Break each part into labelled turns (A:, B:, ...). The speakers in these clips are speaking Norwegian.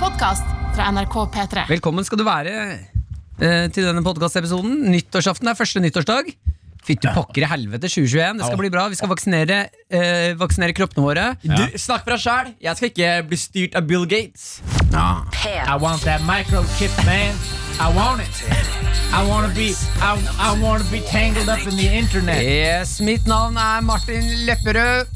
A: podkast fra NRK P3.
B: Velkommen skal du være eh, til denne podkastepisoden. Nyttårsaften er første nyttårsdag. Fytti pokker i helvete 2021. Det skal bli bra. Vi skal vaksinere, eh, vaksinere kroppene våre.
C: Du, snakk fra sjæl. Jeg skal ikke bli styrt av Bill Gates.
D: I want that microchip, man. I want it. I want to be. I, I want to be tangled up in the
B: Eh,
D: internet.
B: Yes, mitt navn er Martin Lepperød.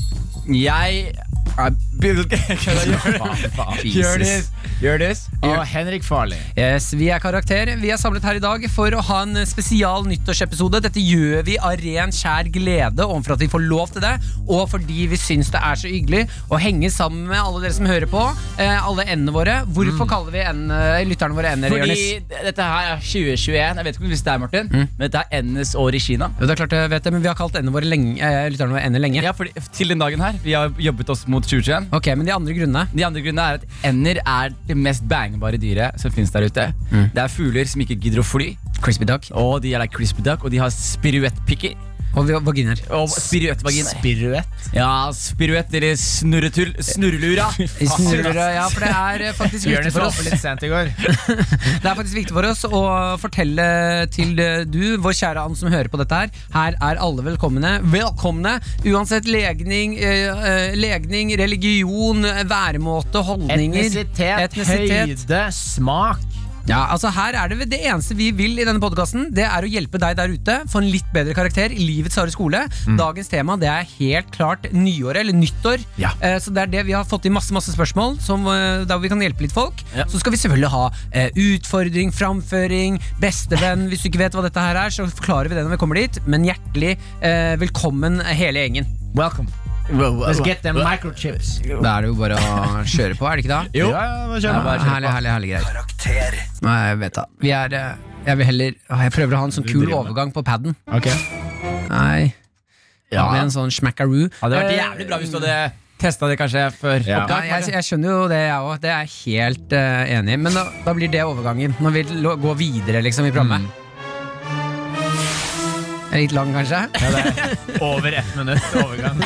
C: Jeg er Bill Gates. Gjør det.
B: Jesus.
C: Gjør det.
D: Og Henrik Farley.
B: Yes, Vi er karakter. Vi er samlet her i dag for å ha en spesial nyttårsepisode. Dette gjør vi av ren, kjær glede overfor at vi får lov til det, og fordi vi syns det er så hyggelig å henge sammen med alle dere som hører på. Eh, alle endene våre. Hvorfor kaller vi en, eh, lytterne våre ender?
C: Mm. Fordi
B: Jonis?
C: dette her er 2021. Jeg vet ikke om du visste det, her, Martin men dette er endenes år i Kina.
B: Jo, det er klart jeg vet det, men vi har kalt endene våre lenge, eh, lytterne våre ender lenge.
C: Ja, fordi, til den dagen her. Vi har jobbet oss mot 2021.
B: Ok, men de andre grunnene
C: De andre grunnene er at ender er det mest bangbare dyret som finnes der ute. Det er fugler som ikke gidder å fly,
B: Crispy duck
C: og de er like crispy duck, og de har spiruettpikker.
B: og vi- vaginaer.
C: Og spiruettvaginer.
D: Spiruett.
C: Ja, spiruett eller snurretull. Snurrelura.
B: Vi snurrer, ja, for det er eh, faktisk viktig
D: Jonis
B: for
D: var
B: oss
D: litt sent i går.
B: Det er faktisk viktig for oss å fortelle til eh, du, vår kjære han som hører på dette her. Her er alle velkomne. Velkomne! Uansett legning, eh, eh, legning religion, eh, væremåte, holdninger
D: Etnisitet, høyde, smak.
B: Ja, altså her er det Det eneste vi vil i denne podkasten, det er å hjelpe deg der ute. Få en litt bedre karakter i livets harde skole. Dagens tema det er helt klart nyåret, eller nyttår.
C: Ja.
B: Eh, så det er det vi har fått inn masse masse spørsmål som, eh, der hvor vi kan hjelpe litt folk.
C: Ja.
B: Så skal vi selvfølgelig ha eh, utfordring, framføring, bestevenn. Hvis du ikke vet hva dette her er, så forklarer vi det når vi kommer dit. Men hjertelig eh, velkommen hele gjengen.
D: Welcome. Let's get them microchips.
B: Da er det jo bare å kjøre på, er det ikke det?
C: Jo.
D: Ja, hva
B: Ja,
D: kjører man?
C: bare kjør på.
B: herlig, herlig, herlig greit. Nei, jeg vet da. Vi er eh, Jeg vil heller ah, Jeg prøver å ha en sånn kul
D: driver med.
B: overgang på paden.
D: Ok.
B: Nei. Ja. Med en sånn smackaroo.
C: Det hadde vært
B: Eh,
C: jævlig bra hvis du hadde testa det kanskje før
D: Ja.
B: ja,
C: opptak.
B: jeg,
C: Martin.
B: jeg skjønner jo det, jeg òg. Det er jeg helt eh, enig i. Men da, da blir det overgangen. Når vi lo- går videre liksom i
C: Mm.
B: programmet. Er Litt lang, kanskje?
D: Over ett minutt overgang.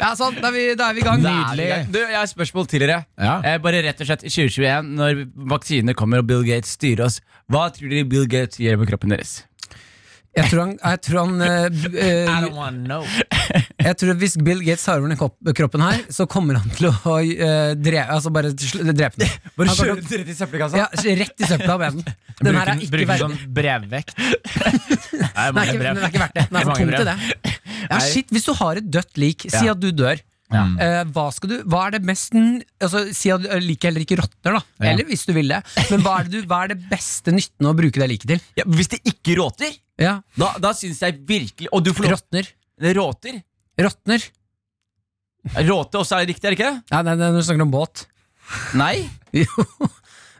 B: Ja, sånn, da er vi, da er vi i gang.
C: Da er vi i gang. Du, jeg har et spørsmål til dere.
D: Ja.
C: Eh, bare rett og slett i 2021, når vaksinene kommer og Bill Gates styrer oss, hva tror dere Bill Gates gjør med kroppen deres?
B: Jeg tror han, jeg tror han eh, b- eh,
D: I don't wanna know.
B: Jeg tror Hvis Bill Gates tar over den kopp- kroppen her, så kommer han til å eh, dre altså bare sl- drepe den. Han kommer til
C: Bare
B: å-
C: kjør den rett i søppelkassa.
B: Ja, rett i søpla med den. Den her
D: Bruker
B: er ikke verdt
D: bruker sånn- som brevvekt. Nei,
B: den er ikke, den er ikke verdt det. Den er for
D: Mange
B: tom
D: brev.
B: til det. Ja, shit, hvis du har et dødt lik, si
C: Ja.
B: at du dør.
D: Mm.
B: Eh, hva, skal du, hva er det mest n- altså, Si at eh, liket heller ikke råtner, da.
D: Ja.
B: Eller hvis du vil det. Men hva er det, du, hva er det beste nytten av å bruke det liket til?
C: Ja, hvis det ikke råter,
B: Ja,
C: da, da syns jeg virkelig Og du får lov
B: Råtner.
C: Det råter.
B: Råtner.
C: Råte også er det riktig, er det ikke det?
B: Nei, nei, nei, du snakker om båt.
C: Nei.
B: Jo.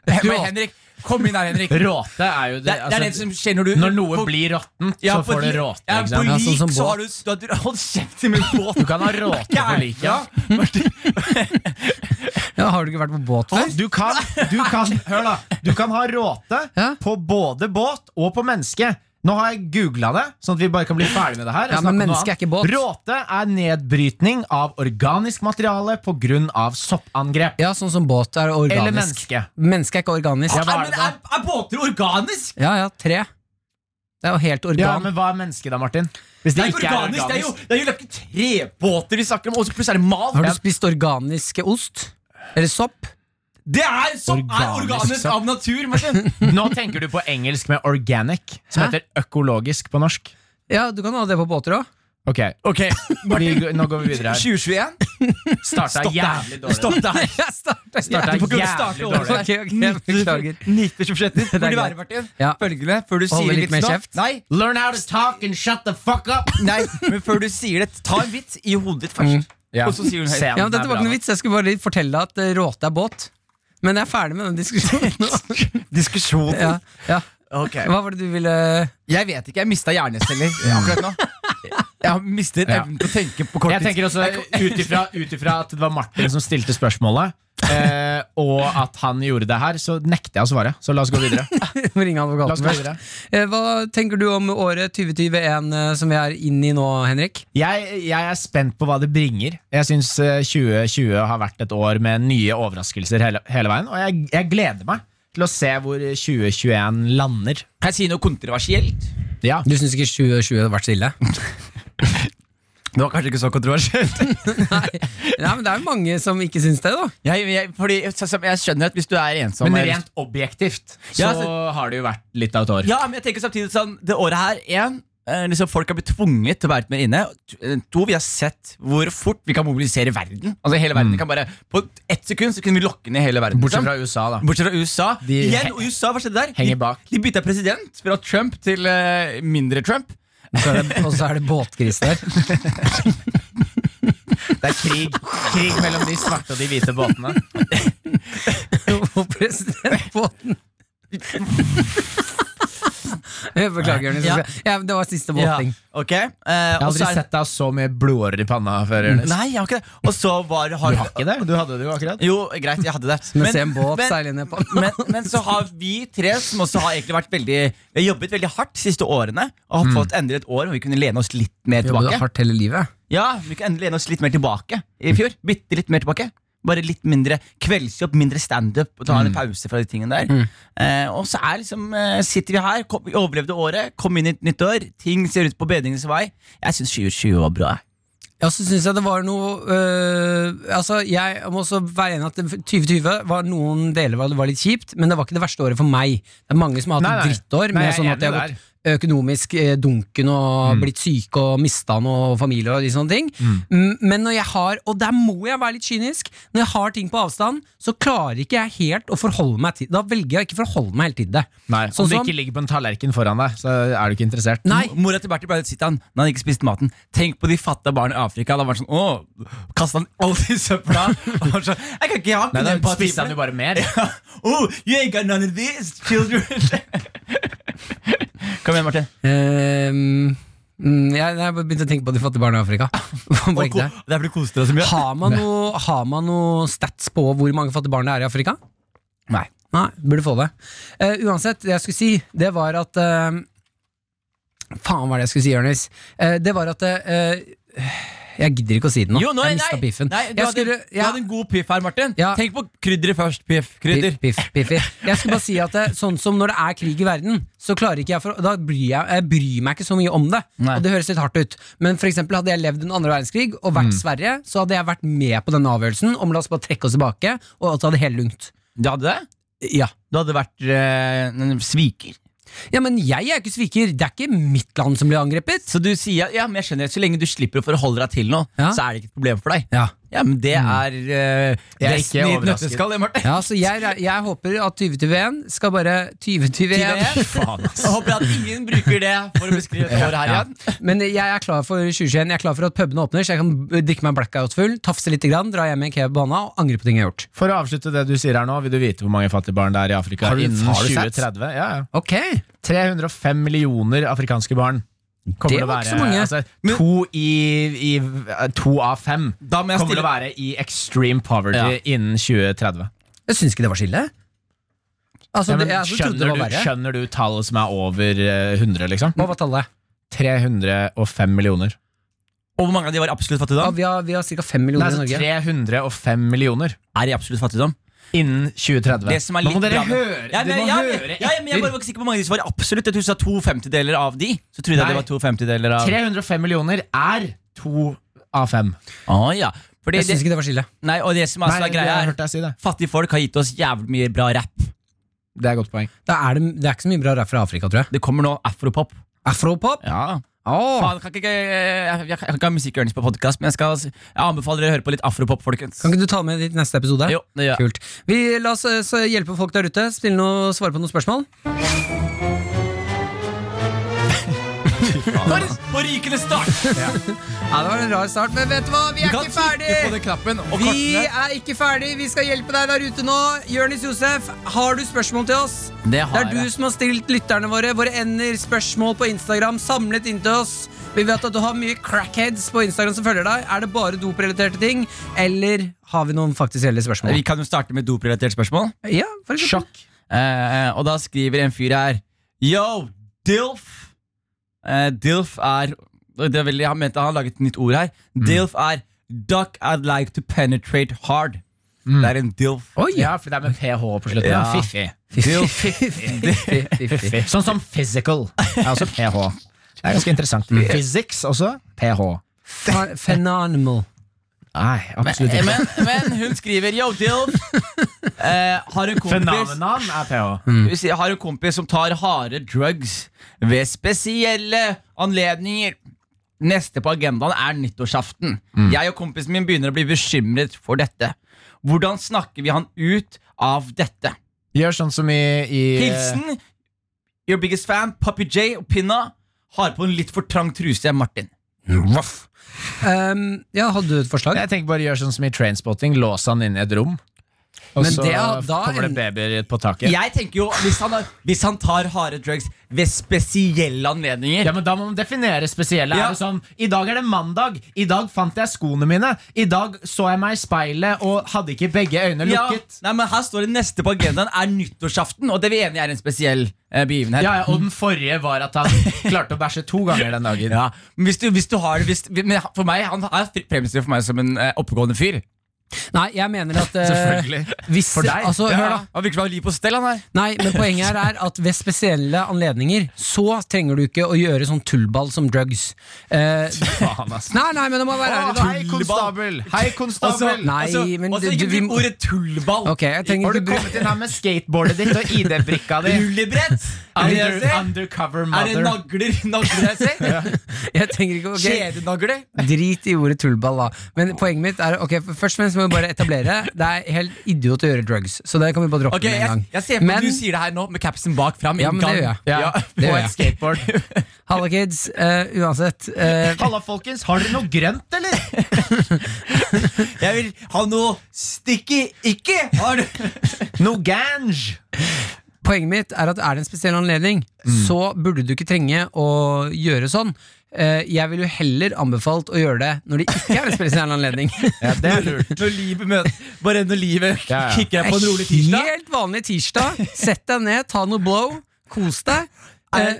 C: Men
B: Råt-
C: Henrik, kom inn her, Henrik. Det,
D: Råte er jo det, altså,
C: er- det er det som skjer når du
D: Når noe
C: på-
D: blir råttent,
C: Ja,
D: så
C: på
D: får det
C: li-
D: råtne. ikke
C: Ja, på
D: sant?
B: Ja,
C: lik
B: sånn som
C: så
B: båt.
C: har du, du, har- Hold kjeft i min båt!
D: Du kan ha råte på liket.
C: Ja.
B: Ja, har du ikke vært på båt før?
D: Du kan, du kan, hør da, du kan ha råte
B: Ja.
D: på både båt og på menneske. Nå har jeg googla det, sånn at vi bare kan bli ferdig med det her. og
B: Ja, men
D: snakke om noe
B: menneske er
D: annet.
B: ikke båt.
D: Råte er nedbrytning av organisk materiale pga. soppangrep.
B: Ja, sånn som båt er
D: Eller
B: organisk.
D: menneske.
B: Menneske er ikke organisk.
D: Ja, hva
C: Nei,
D: er
C: men
D: det
C: er,
D: da?
C: er båter organisk?
B: Ja, ja, tre. Det er jo helt organ.
D: Ja, men hva er menneske da, Martin? Hvis
C: Det
D: det
C: er
D: ikke
C: ikke organisk, det er jo, det er jo like trebåter vi snakker om, og så plutselig er det mal.
B: Har du spist organisk ost? Eller sopp?
C: Det er som er
D: Organisk
C: organisk
D: sopp.
C: av natur, Martin!
D: Nå tenker du på engelsk med organic, som
B: Hæ?
D: heter økologisk på norsk.
B: Ja, du kan ha det på båter òg.
D: Ok,
C: Ok,
D: vi, nå går vi videre her.
C: 2021?
D: Starta jævlig dårlig.
C: Stopp der!
D: Starta
C: Du får ikke
D: jævlig
C: starte
D: dårlig.
C: over
B: Ok, ok, jeg beklager.
C: Nyttårsforsetter
B: er
C: burde
B: greit.
C: være, Martin.
B: Ja.
C: Følgende, før du
B: Holde
C: sier
B: litt
C: vitsen
B: mer
C: nå-
B: kjeft.
C: Nei,
D: Learn how to talk and shut the fuck up!
C: nei, men før du sier det, ta en vits i hodet ditt først.
D: Ja.
C: Og så sier hun høyt.
D: Se om
B: Ja, men
D: den er
B: dette var
D: bra
B: ikke
D: nok.
B: noe vits. Jeg skulle bare fortelle deg at eh, råte er båt. Men jeg er ferdig med den diskusjonen nå.
C: Diskusjon.
B: Ja, ja.
C: Ok.
B: Hva var det du ville
C: Jeg vet ikke, jeg mista hjerneceller akkurat nå. Jeg har mistet
D: Ja.
C: evnen til å tenke på kort
D: Jeg tenker også ut ifra- Ut ifra at det var Martin som stilte spørsmålet, eh, og at han gjorde det her, så nekter jeg å svare. Så la oss gå videre.
B: Ringe
D: La oss
B: advokaten
D: gå
B: først.
D: videre.
B: Eh, Hva tenker du om året 2021 eh, som vi er inne i nå, Henrik?
D: Jeg, jeg er spent på hva det bringer. Jeg syns 2020 har vært et år med nye overraskelser hele, hele veien, og jeg, jeg gleder meg til å se hvor 2021 lander.
C: Kan jeg si noe kontroversielt?
D: Ja.
B: Du syns ikke 2020 har vært stille?
C: Det var kanskje ikke så kontroversielt.
B: Nei. Nei, men det er jo mange som ikke syns det, da.
C: jeg, jeg, fordi, så- så- jeg skjønner at hvis du er ensom
D: Men
C: eller-
D: rent objektivt så
C: Ja, altså-
D: har det jo vært litt av et år.
C: Ja, men jeg tenker samtidig sånn Det året her, en eh, liksom Folk har blitt tvunget til å være litt mer inne T- eh, To, vi har sett hvor fort vi kan mobilisere verden Altså hele verden kan bare På ett sekund så kunne vi lokke ned hele verden
D: Bortsett
C: liksom.
D: fra USA, da.
C: Bortsett fra USA
D: De
C: Igjen,
D: he-
C: og USA, hva skjedde der?
D: henger
C: De-
D: bak.
C: De bytta president fra Trump til eh, mindre Trump
B: Og så er det båtgris der.
D: Det er krig, krig mellom de svarte og de hvite båtene.
B: Og presidentbåten. Jeg Beklager, Jonis.
C: Ja.
B: Ja, men det var siste båting.
C: Ok eh,
D: Jeg har
C: og så
D: aldri
C: er-
D: sett deg ha så mye blodårer i panna før. Jonas.
C: Nei, jeg har ikke det Og så var
D: Du har ikke det? Du hadde det jo akkurat.
C: Jo, greit, jeg hadde det
B: Som å se en båt
C: men-
B: seile ned på
C: men, men så har vi tre, som også har egentlig vært veldig Vi har jobbet veldig hardt de siste årene, og har
D: Mm.
C: fått endelig et år hvor vi kunne lene oss litt mer
B: Jobbet
C: tilbake.
B: hardt hele livet.
C: Ja, vi kunne endelig lene oss litt mer tilbake I fjor, bitte litt mer tilbake. Bare litt mindre kveldsjobb, mindre standup, og
D: Mm.
C: ta en pause fra de tingene der. Eh, og så er liksom, eh, sitter vi her, kom, vi overlevde året, kom inn i et nytt år, ting ser ut på bedringens vei. Jeg syns 2020 var bra. jeg.
B: Ja, så synes jeg det var noe øh, Altså, jeg må også være enig i at det- 2020 var noen deler hvor det var litt kjipt, men det var ikke det verste året for meg. Det er mange som har hatt
D: Nei, nei.
B: drittår,
D: Nei,
B: med
D: jeg er
B: sånn at de
D: enig Mm.
B: har gått økonomisk eh, dunken og blitt syke og mista noe familie og de sånne ting. Mm, Men når jeg har, og der må jeg være litt kynisk, når jeg har ting på avstand, så klarer ikke jeg helt å forholde meg til Da velger jeg å ikke forholde meg helt til det.
D: Nei,
B: Sånn
D: Om det
B: som-
D: ikke ligger på en tallerken foran deg, så er du ikke interessert.
B: Nei.
C: Mo- Mora til Bertil pleide å si til han når han ikke spiste maten Tenk på de fattige barna i Afrika. Da var han sånn, åh, kastet han alt i søpla. Og han sånn, jeg kan ikke ha
D: Nei, da
C: den empati
D: spiste han jo
C: for det.»
D: bare mer.
C: Oh, you ain't got none of these, children. Kom igjen, Martin.
B: Ehm, mm, jeg, jeg begynte å tenke på de fattige barna i Afrika. På
C: Og ko-
B: ekte.
C: Det er fordi du koste deg så mye.
B: Har man noe, har man noe stats på hvor mange fattige barn det er i Afrika?
C: Nei.
B: Nei, burde få det. Eh, uansett, det jeg skulle si, det var at eh, Faen, hva er det jeg skulle si, Jonis? Eh, det var at eh, Jeg gidder ikke å si det nå.
C: Jo, nå,
B: jeg
C: nei,
B: mista piffen.
C: Nei, du,
B: jeg
C: hadde,
B: skulle,
C: du
B: ja,
C: hadde en god piff her, Martin.
B: Ja.
C: Tenk på krydderet først. Piff, krydder.
B: Piff, piff, piffi. Jeg skulle bare si at det, sånn som når det er krig i verden, så klarer ikke jeg for, da bryr jeg, jeg bryr meg ikke så mye om det.
C: Nei.
B: Og det høres litt hardt ut. Men for eksempel hadde jeg levd under andre verdenskrig og vært Sverige, så hadde jeg vært med på denne avgjørelsen om la oss bare trekke oss tilbake og ta det helt lugnt.
C: Du hadde det?
B: Ja.
C: Du hadde vært eh, en sviker.
B: ja, men jeg er ikke sviker. Det er ikke mitt land som blir angrepet.
C: Så du sier ja, men jeg skjønner, så lenge du slipper å forholde deg til noe,
B: Ja.
C: så er det ikke et problem for deg.
B: Ja.
C: Ja, men det er uh,
D: Jeg er ikke
C: i et
D: overrasket.
C: nøtteskall, det, Martin.
B: Ja, så jeg, jeg håper at 2021 skal bare 2021
D: Faen, ass.
C: Jeg håper at ingen bruker det for å beskrive et år her igjen.
B: Men jeg er klar for 2021. Jeg er klar for at pubene åpner, så jeg kan b- drikke meg blackout full, tafse litt, grann, dra hjem med en kebab på hånda og angre på ting jeg har gjort.
D: For å avslutte det du sier her nå, vil du vite hvor mange fattige barn det er i Afrika
C: Har du-
D: innen
C: har du sett?
D: 2030? Ja, ja.
B: Ok
D: 305 millioner afrikanske barn. Kommer
B: Det
D: til å
B: var ikke
D: være-
B: så mange.
D: Altså, to, i, i, to av fem
C: Da må jeg
D: kommer til å
C: stille-
D: være i extreme poverty
C: Ja.
D: innen 2030.
B: Jeg syns ikke det var så ille. Altså,
D: Ja, men
B: det, jeg trodde det
D: skjønner,
B: var
D: du,
B: verre.
D: skjønner du tallet som er over eh, 100, liksom?
B: Hva var tallet?
D: 305 millioner.
C: Og hvor mange av de var i absolutt
B: Ja,
C: fattigdom?
B: vi har, vi har ca. fem
D: Nei,
B: millioner i
D: altså
B: Norge.
D: 305 millioner
C: Er i absolutt fattigdom.
D: innen 2030.
C: Det som er litt
D: Nå må dere
C: bra med-
D: høre!
C: Ja, men,
D: dere må
C: ja,
D: høre
C: ja, ja, men jeg
D: etter.
C: bare var ikke sikker på hvor mange av de som var i absolutt. Jeg tror du sa to femtedeler av de. Så trodde jeg det
D: Nei.
C: var to femtedeler av
D: 305 millioner er to av fem.
C: Å, ja. Fordi
B: Jeg
C: det,
B: syns ikke det var så ille.
C: nei, og Altså, det som er, så
D: Nei,
C: er
D: jeg
C: greia,
D: har
C: er
D: hørt deg si det.
C: fattige folk har gitt oss jævlig mye bra rapp.
D: Det er et godt poeng.
B: Da er det, det er ikke så mye bra rap fra Afrika, tror jeg.
C: Det kommer nå afropop.
B: Afropop?
C: Ja.
B: Åh.
C: Faen, kan ikke, jeg, jeg kan ikke ha musikkgjørelse på podkast, men jeg, skal, altså- jeg anbefaler dere å høre på litt afropop, folkens.
B: Kan ikke du ta med ditt neste episode?
C: Jo, det gjør jeg.
B: Kult. Vi La oss eh, så hjelpe folk der ute. Stille noe, svare på noen spørsmål.
C: For, for rykende start!
B: Ja, Det var en rar start, men vet du hva? Vi er
C: kan
B: ikke
C: trykke på den
B: ferdig!
C: knappen og
B: Vi
C: kortene.
B: er ikke ferdig. Vi skal hjelpe deg der ute nå. Jørnis Josef, har du spørsmål til oss?
C: Det
B: Det
C: har
B: er du
C: jeg.
B: som har stilt lytterne våre våre ender spørsmål på Instagram samlet inn til oss. Vi vet at du har mye crackheads på Instagram som følger deg. Er det bare doprelaterte ting, eller har vi noen faktisk reelle spørsmål?
C: Vi kan jo starte med doprelatert spørsmål.
B: Ja, for eksempel.
C: Eh, og da skriver en fyr her Yo, DILF! Eh, DILF er det er veldig, Han mente han har laget et nytt ord her. DILF er Duck I'd like to penetrate hard. Det er en DILF.
B: Oi!
D: Ja, for det er med ph på slutten.
C: Ja.
D: Fiffig.
C: DILF.
B: Fiffig.
D: Sånn som physical. Mm. Det er også ph. altså Det er ganske interessant. Physics også. Ph.
B: Fe- Phenomenal.
D: Nei, absolutt
C: Eh,
D: ikke.
C: Men, men hun skriver Yo, DILF! Eh, har en kompis
D: Fenomenon er ph.
C: Hun sier, har en kompis som tar harde drugs ved spesielle anledninger. Neste på agendaen er nyttårsaften. Jeg og kompisen min begynner å bli bekymret for dette. Hvordan snakker vi han ut av dette?
D: Gjør sånn som i, i
C: Hilsen your biggest fan, Papi J og Pinna. Har på en litt for trang truse, Martin.
B: Ruff. Um, ja, hadde du et forslag?
D: Jeg tenker bare gjør sånn som i trainspotting. Lås han inne i et rom. Og
B: Men
D: så
B: det er- da
D: kommer det babyer på taket.
C: Jeg tenker jo, hvis han, har, hvis han tar harde drugs ved spesielle anledninger
D: Ja, men Da må man definere spesielle.
C: Ja.
D: Er det sånn, I dag er det mandag. I dag fant jeg skoene mine. I dag så jeg meg i speilet og hadde ikke begge øyne
C: Ja,
D: lukket. Ja.
C: nei, men Her står det neste på agendaen er nyttårsaften, og det vi er enige er en spesiell eh, begivenhet.
D: Ja, Og den forrige var at han klarte å bæsje to ganger den dagen.
C: Ja, men hvis du, hvis du har det hvis, Men for meg, han er fri- fremstilt for meg som en eh, oppegående fyr.
B: Nei, jeg mener at eh, hvis,
D: For deg.
B: Altså, hør da.
C: Han virker som han har liv på stell, han her.
B: Nei, men poenget her er at ved spesielle anledninger så trenger du ikke å gjøre sånn tullball som drugs. Eh,
D: Faen, ass.
B: nei, nei, men det må være
D: Å,
B: ærlig, da.
D: hei, konstabel! Hei, konstabel!
B: Nei,
C: altså,
B: men
C: altså,
B: du-
C: ikke
B: du- vi-
C: bruk ordet tullball.
B: Ok, jeg trenger
D: Har du
B: ikke
D: kommet inn her med skateboardet ditt og ID-brikka di?
C: Rullebrett! Er det det jeg
D: Under,
C: ser?
D: undercover
C: Er det
D: mother.
C: nagler nagler jeg ser?
B: Jeg trenger ikke ok.
C: Kjedenagler?
B: Drit i ordet tullball, da. Men poenget mitt er Ok, for først og fremst må vi bare etablere Det er helt idiot å gjøre drugs, så det kan vi bare droppe
C: Ok,
B: med en
C: jeg,
B: gang.
C: jeg ser på
B: Men-
C: at du sier det her nå med capsen bak fram.
B: Ja, men det
C: gang.
B: gjør jeg.
C: Ja,
D: Ja,
B: det
D: på
B: gjør
D: et
B: jeg.
D: skateboard.
B: Halla, kids. Eh, uansett. eh,
D: Halla, folkens. Har dere noe grønt, eller?
C: Jeg vil ha noe sticky ikke! Har du?
D: Noe gange?
B: poenget mitt er at er det en spesiell anledning,
C: Mm.
B: så burde du ikke trenge å gjøre sånn. Eh, jeg ville jo heller anbefalt å gjøre det når det ikke er en spesiell anledning.
D: Ja, det er lurt.
C: Når livet møter Bare når livet
D: Ja, ja.
C: kicker deg på en rolig tirsdag.
B: Helt vanlig tirsdag. Sett deg ned, ta noe blow, kos deg. Eh,
C: Er,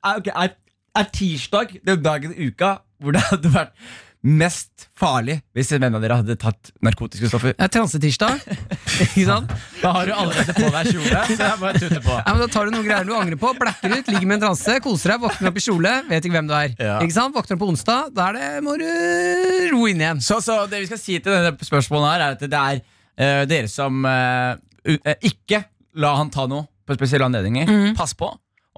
C: er, ok, er, er tirsdag den dagen i uka hvor det hadde vært mest farlig hvis en venn av dere hadde tatt narkotiske stoffer?
B: det er transetirsdag. Ikke sant?
D: Da har du allerede på deg kjole, så det er bare å tute på.
B: Ja, men da tar du noen greier du angrer på, blekker ut, ligger med en transe, koser deg, våkner opp i kjole, vet ikke hvem du er.
C: Ja.
B: Ikke sant? Våkner opp på onsdag, da er det, må du ro inn igjen.
C: Så, så det vi skal si til denne spørsmålet her, er at det er eh, dere som eh, u- eh, ikke la han ta noe på spesielle anledninger. Pass på.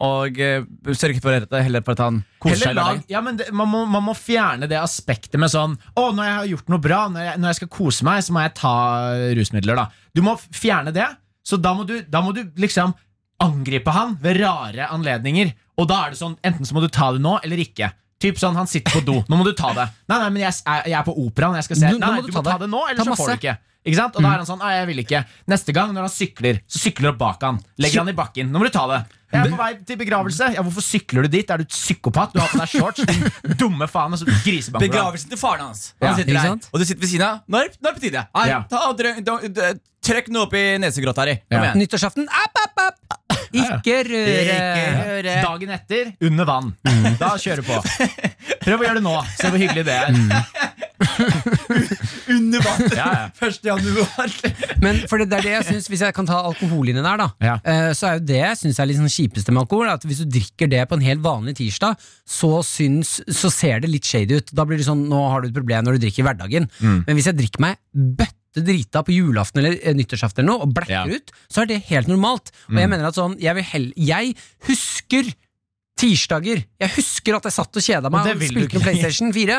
C: Og eh, sørg for at, heller for at han
D: Heller
C: koser seg i
D: lag,
C: hverdagen.
D: ja, men det, man, må, man må fjerne det aspektet med sånn Å, når jeg har gjort noe bra, når jeg, når jeg skal kose meg, så må jeg ta eh, rusmidler, da. Du må f- fjerne det, så da må du, da må du liksom angripe han ved rare anledninger. Og da er det sånn, enten så må du ta det nå, eller ikke. Typ sånn, han sitter på do. Nå må du ta det. Nei, nei, men jeg, s- jeg jeg er på operaen, jeg skal se.
B: Nå- nå
D: Nei, nei,
B: må
D: du må ta det nå,
B: Ta
D: eller så får
B: masse.
D: du ikke. Ikke sant? Og da er
B: Mm.
D: han sånn, nei, jeg vil ikke. Neste gang når han sykler, så sykler han bak han. Legger han i bakken. Nå må du ta det. Jeg er på vei til begravelse. Ja, hvorfor sykler du dit? Er du et psykopat? Du har på deg shorts, din dumme faen. Og så grisebanker du han.
C: Begravelsen til faren hans.
D: Ja,
C: Han sitter
B: ikke
C: der,
B: sant?
C: og du sitter ved siden av. Nå er det nå er det på tide. Her,
D: Ja.
C: ta og drø- dø- dø- Trøkk noe opp i nesegrotta di. Kom
D: Ja.
C: igjen.
B: Nyttårsaften, app, app, app! Ikke røre.
D: Eh, Dagen etter, under vann. Da kjører du på. Prøv å gjøre det nå. Se hvor hyggelig det er.
B: Mm.
C: Under vann.
D: Ja, ja.
C: 1. januar.
B: Men for det, det er det jeg synes, Hvis jeg kan ta alkohollinjen der, da,
D: Ja.
B: eh, så er jo det jeg synes er litt sånn kjipeste med alkohol. At Hvis du drikker det på en helt vanlig tirsdag, så, syns, så ser det litt shady ut. Da blir det sånn, nå har du et problem når du drikker i hverdagen.
D: Mm.
B: Men hvis jeg drikker meg bøtte drita på julaften eller eh, nyttårsaften eller noe, og blacker
D: Ja. Mm.
B: ut, så er det helt normalt. Og jeg mener at sånn, jeg, vil hell, jeg husker tirsdager. Jeg husker at jeg satt og kjeda
D: Og
B: meg
D: det
B: og
D: vil du
B: spilte med
D: ikke.
B: PlayStation 4.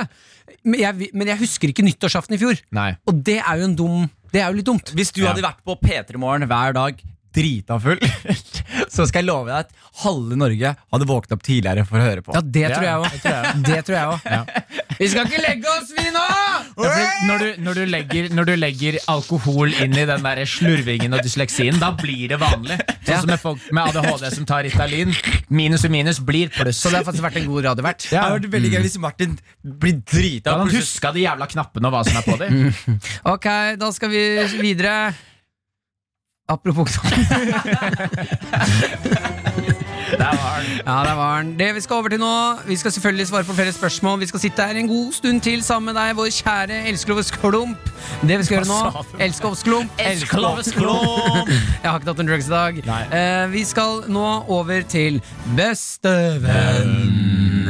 B: Men jeg, vi- men jeg husker ikke nyttårsaften i fjor.
D: Nei.
B: Og det er jo en dum Det er jo litt dumt.
C: Hvis du
D: Ja.
C: hadde vært på P3 Morgen hver dag drita full, så skal jeg love deg at halve Norge hadde våknet opp tidligere for å høre på.
B: Ja, det
D: Ja,
B: tror jeg òg. Det tror jeg òg. Vi skal ikke legge oss, vi nå!
D: Ja, for når, du, når, du legger, når du legger alkohol inn i den der slurvingen og dysleksien, da blir det vanlig. Sånn som med folk med ADHD som tar Ritalin. Minus og minus blir pluss.
B: Så det har faktisk vært en god radiovert.
D: Ja.
C: Det hadde vært veldig gøy hvis Martin blir drita.
D: Da
C: av
D: han
C: plutselig-
D: huska de jævla knappene og hva som er på dem.
B: Ok, da skal vi videre. Apropos knapp.
D: Der var den.
B: Ja, der var den. Det vi skal over til nå, vi skal selvfølgelig svare på flere spørsmål. Vi skal sitte her en god stund til sammen med deg, vår kjære Elskovs klump. Det vi skal gjøre nå, Elskovs klump.
C: Elskovs klump.
B: Jeg har ikke tatt en drugs i dag. Eh, vi skal nå over til Bestevenn.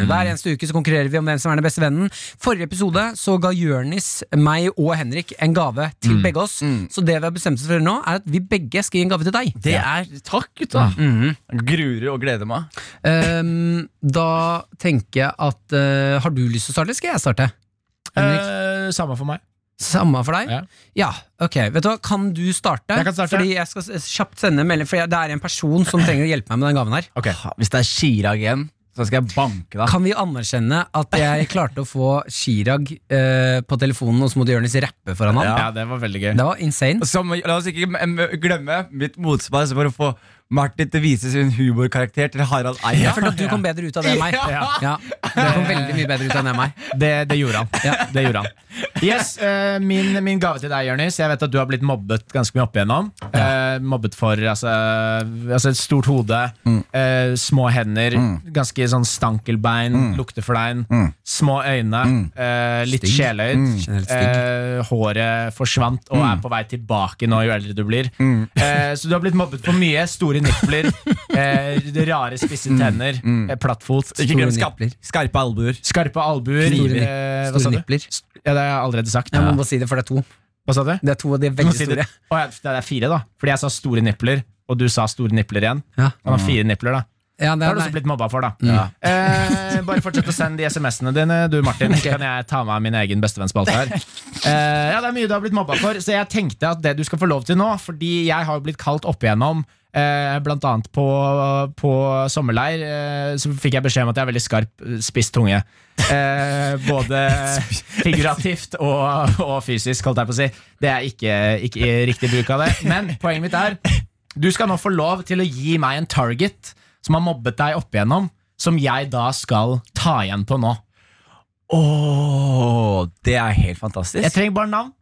B: Hver eneste uke så konkurrerer vi om hvem som er den beste vennen. Forrige episode så ga Jørnis, meg og Henrik en gave til
D: Mm.
B: begge oss. Så det vi har bestemt oss for å gjøre nå, er at vi begge skal gi en gave til deg.
C: Det er Takk, gutta.
D: Mm.
C: Gruer og gleder meg.
B: Ehm, da tenker jeg at eh, Har du lyst til å starte, eller skal jeg starte? Henrik?
D: Eh, samme for meg.
B: Samme for deg?
D: Ja.
B: Ja, ok. Vet du hva, Kan du starte?
D: Jeg kan starte.
B: Fordi jeg skal s- kjapt sende en melding, for jeg- det er en person som trenger å hjelpe meg med den gaven her.
D: Ok.
C: Ha, Hvis det er Chirag igjen, så skal jeg banke deg.
B: Kan vi anerkjenne at jeg klarte å få Chirag eh, på telefonen, og så måtte Jonis rappe foran ham?
D: Ja, det var veldig gøy.
B: Det var insane.
C: Som, la oss ikke em, glemme mitt motsvar som for å få Martin til å vise sin humorkarakter til Harald Eia.
B: Jeg følte at du kom bedre ut av det enn meg.
C: Ja.
B: Ja, det kom veldig mye bedre ut enn meg.
D: Det, det gjorde han. Det gjorde han. Yes, eh, min, min gave til deg, Jørnis. Jeg vet at du har blitt mobbet ganske mye opp igjennom. Eh, mobbet for altså, altså et stort hode,
B: Mm.
D: eh, små hender, ganske sånn stankelbein,
B: Mm.
D: lukter for deg, små øyne, eh, litt
B: Stygg.
D: sjeløyd.
B: Mm. Generelt Mm.
D: Eh, håret forsvant og er på vei tilbake nå jo eldre du blir. Eh, så du har blitt mobbet for mye. Store nipler, eh, rare, spisse tenner, eh, plattfot.
C: Ikke glem skap,
B: Mm. nippler.
C: skarpe albuer.
D: Skarpe albuer.
B: Store,
D: eh, hva sa
B: store
D: du?
B: nipler.
D: Ja, det har jeg allerede sagt.
B: Jeg må bare si det, for det er to.
D: Hva sa du?
B: Det er to, og de er
D: Du må
B: veldig
D: si det.
B: store.
D: Å, ja, det er fire, da. Fordi jeg sa store nipler, og du sa store nipler igjen.
B: Ja.
D: Han har fire nipler, da.
B: Mm. Ja, Mm.
D: Det
B: det
D: har
B: er,
D: du også blitt mobba for, da. Eh, bare fortsett å sende de SMS-ene dine, du Martin. Så kan jeg ta med min egen bestevennspalte her. Eh, ja, det er mye du har blitt mobba for, så jeg tenkte at det du skal få lov til nå, fordi jeg har jo blitt kalt opp igjennom Eh, blant annet på, på sommerleir eh, Så fikk jeg beskjed om at jeg har veldig skarp, eh, spiss tunge. Eh, både figurativt og, og fysisk, holdt jeg på å si. Det er ikke, ikke riktig bruk av det. Men poenget mitt er du skal nå få lov til å gi meg en target som har mobbet deg opp igjennom, som jeg da skal ta igjen på nå.
C: Åh, det er helt fantastisk.
D: Jeg trenger bare navn,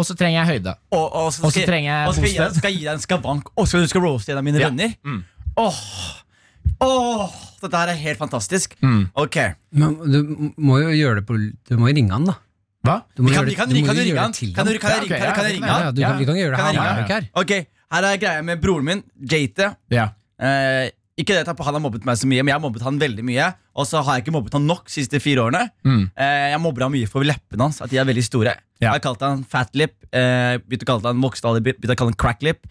D: og så trenger jeg høyde.
C: og, og så
D: Og så
C: skal,
D: trenger jeg
C: og så skal,
D: bosted.
C: jeg, skal jeg gi deg en skavank, og så skal du roaste en av mine
D: Ja.
C: venner.
D: Mm.
C: Åh, åh, Dette her er helt fantastisk.
D: Mm.
C: Ok,
B: Men du må jo gjøre det på Du må jo ringe han, da.
D: Hva?
B: Du må
C: kan,
B: gjøre det-
C: kan,
B: du må
C: kan du
B: jo gjøre
C: ringe han?
B: det til
C: Kan du- kan
D: Ja,
C: jeg
D: ok,
C: ringe- kan-
D: ja,
C: kan jeg
D: jeg
C: ringe
B: Ja, ja,
C: han?
B: du,
D: Ja,
B: vi kan gjøre det.
C: kan
B: Han
C: jeg
B: er
D: ringe
B: jo ikke her.
C: Ok, Her er greia med broren min, Jate.
D: Ja.
C: Eh, ikke det at han har mobbet meg så mye, men jeg har mobbet han veldig mye. Og så har jeg ikke mobbet han nok de siste fire årene.
D: Mm.
C: Eh, jeg mobber han mye for leppene hans, at de er veldig store.
D: Ja.
C: Jeg har kalt han fat lip, eh, begynte å kalle han voksenalder, begynte å kalle han crack lip,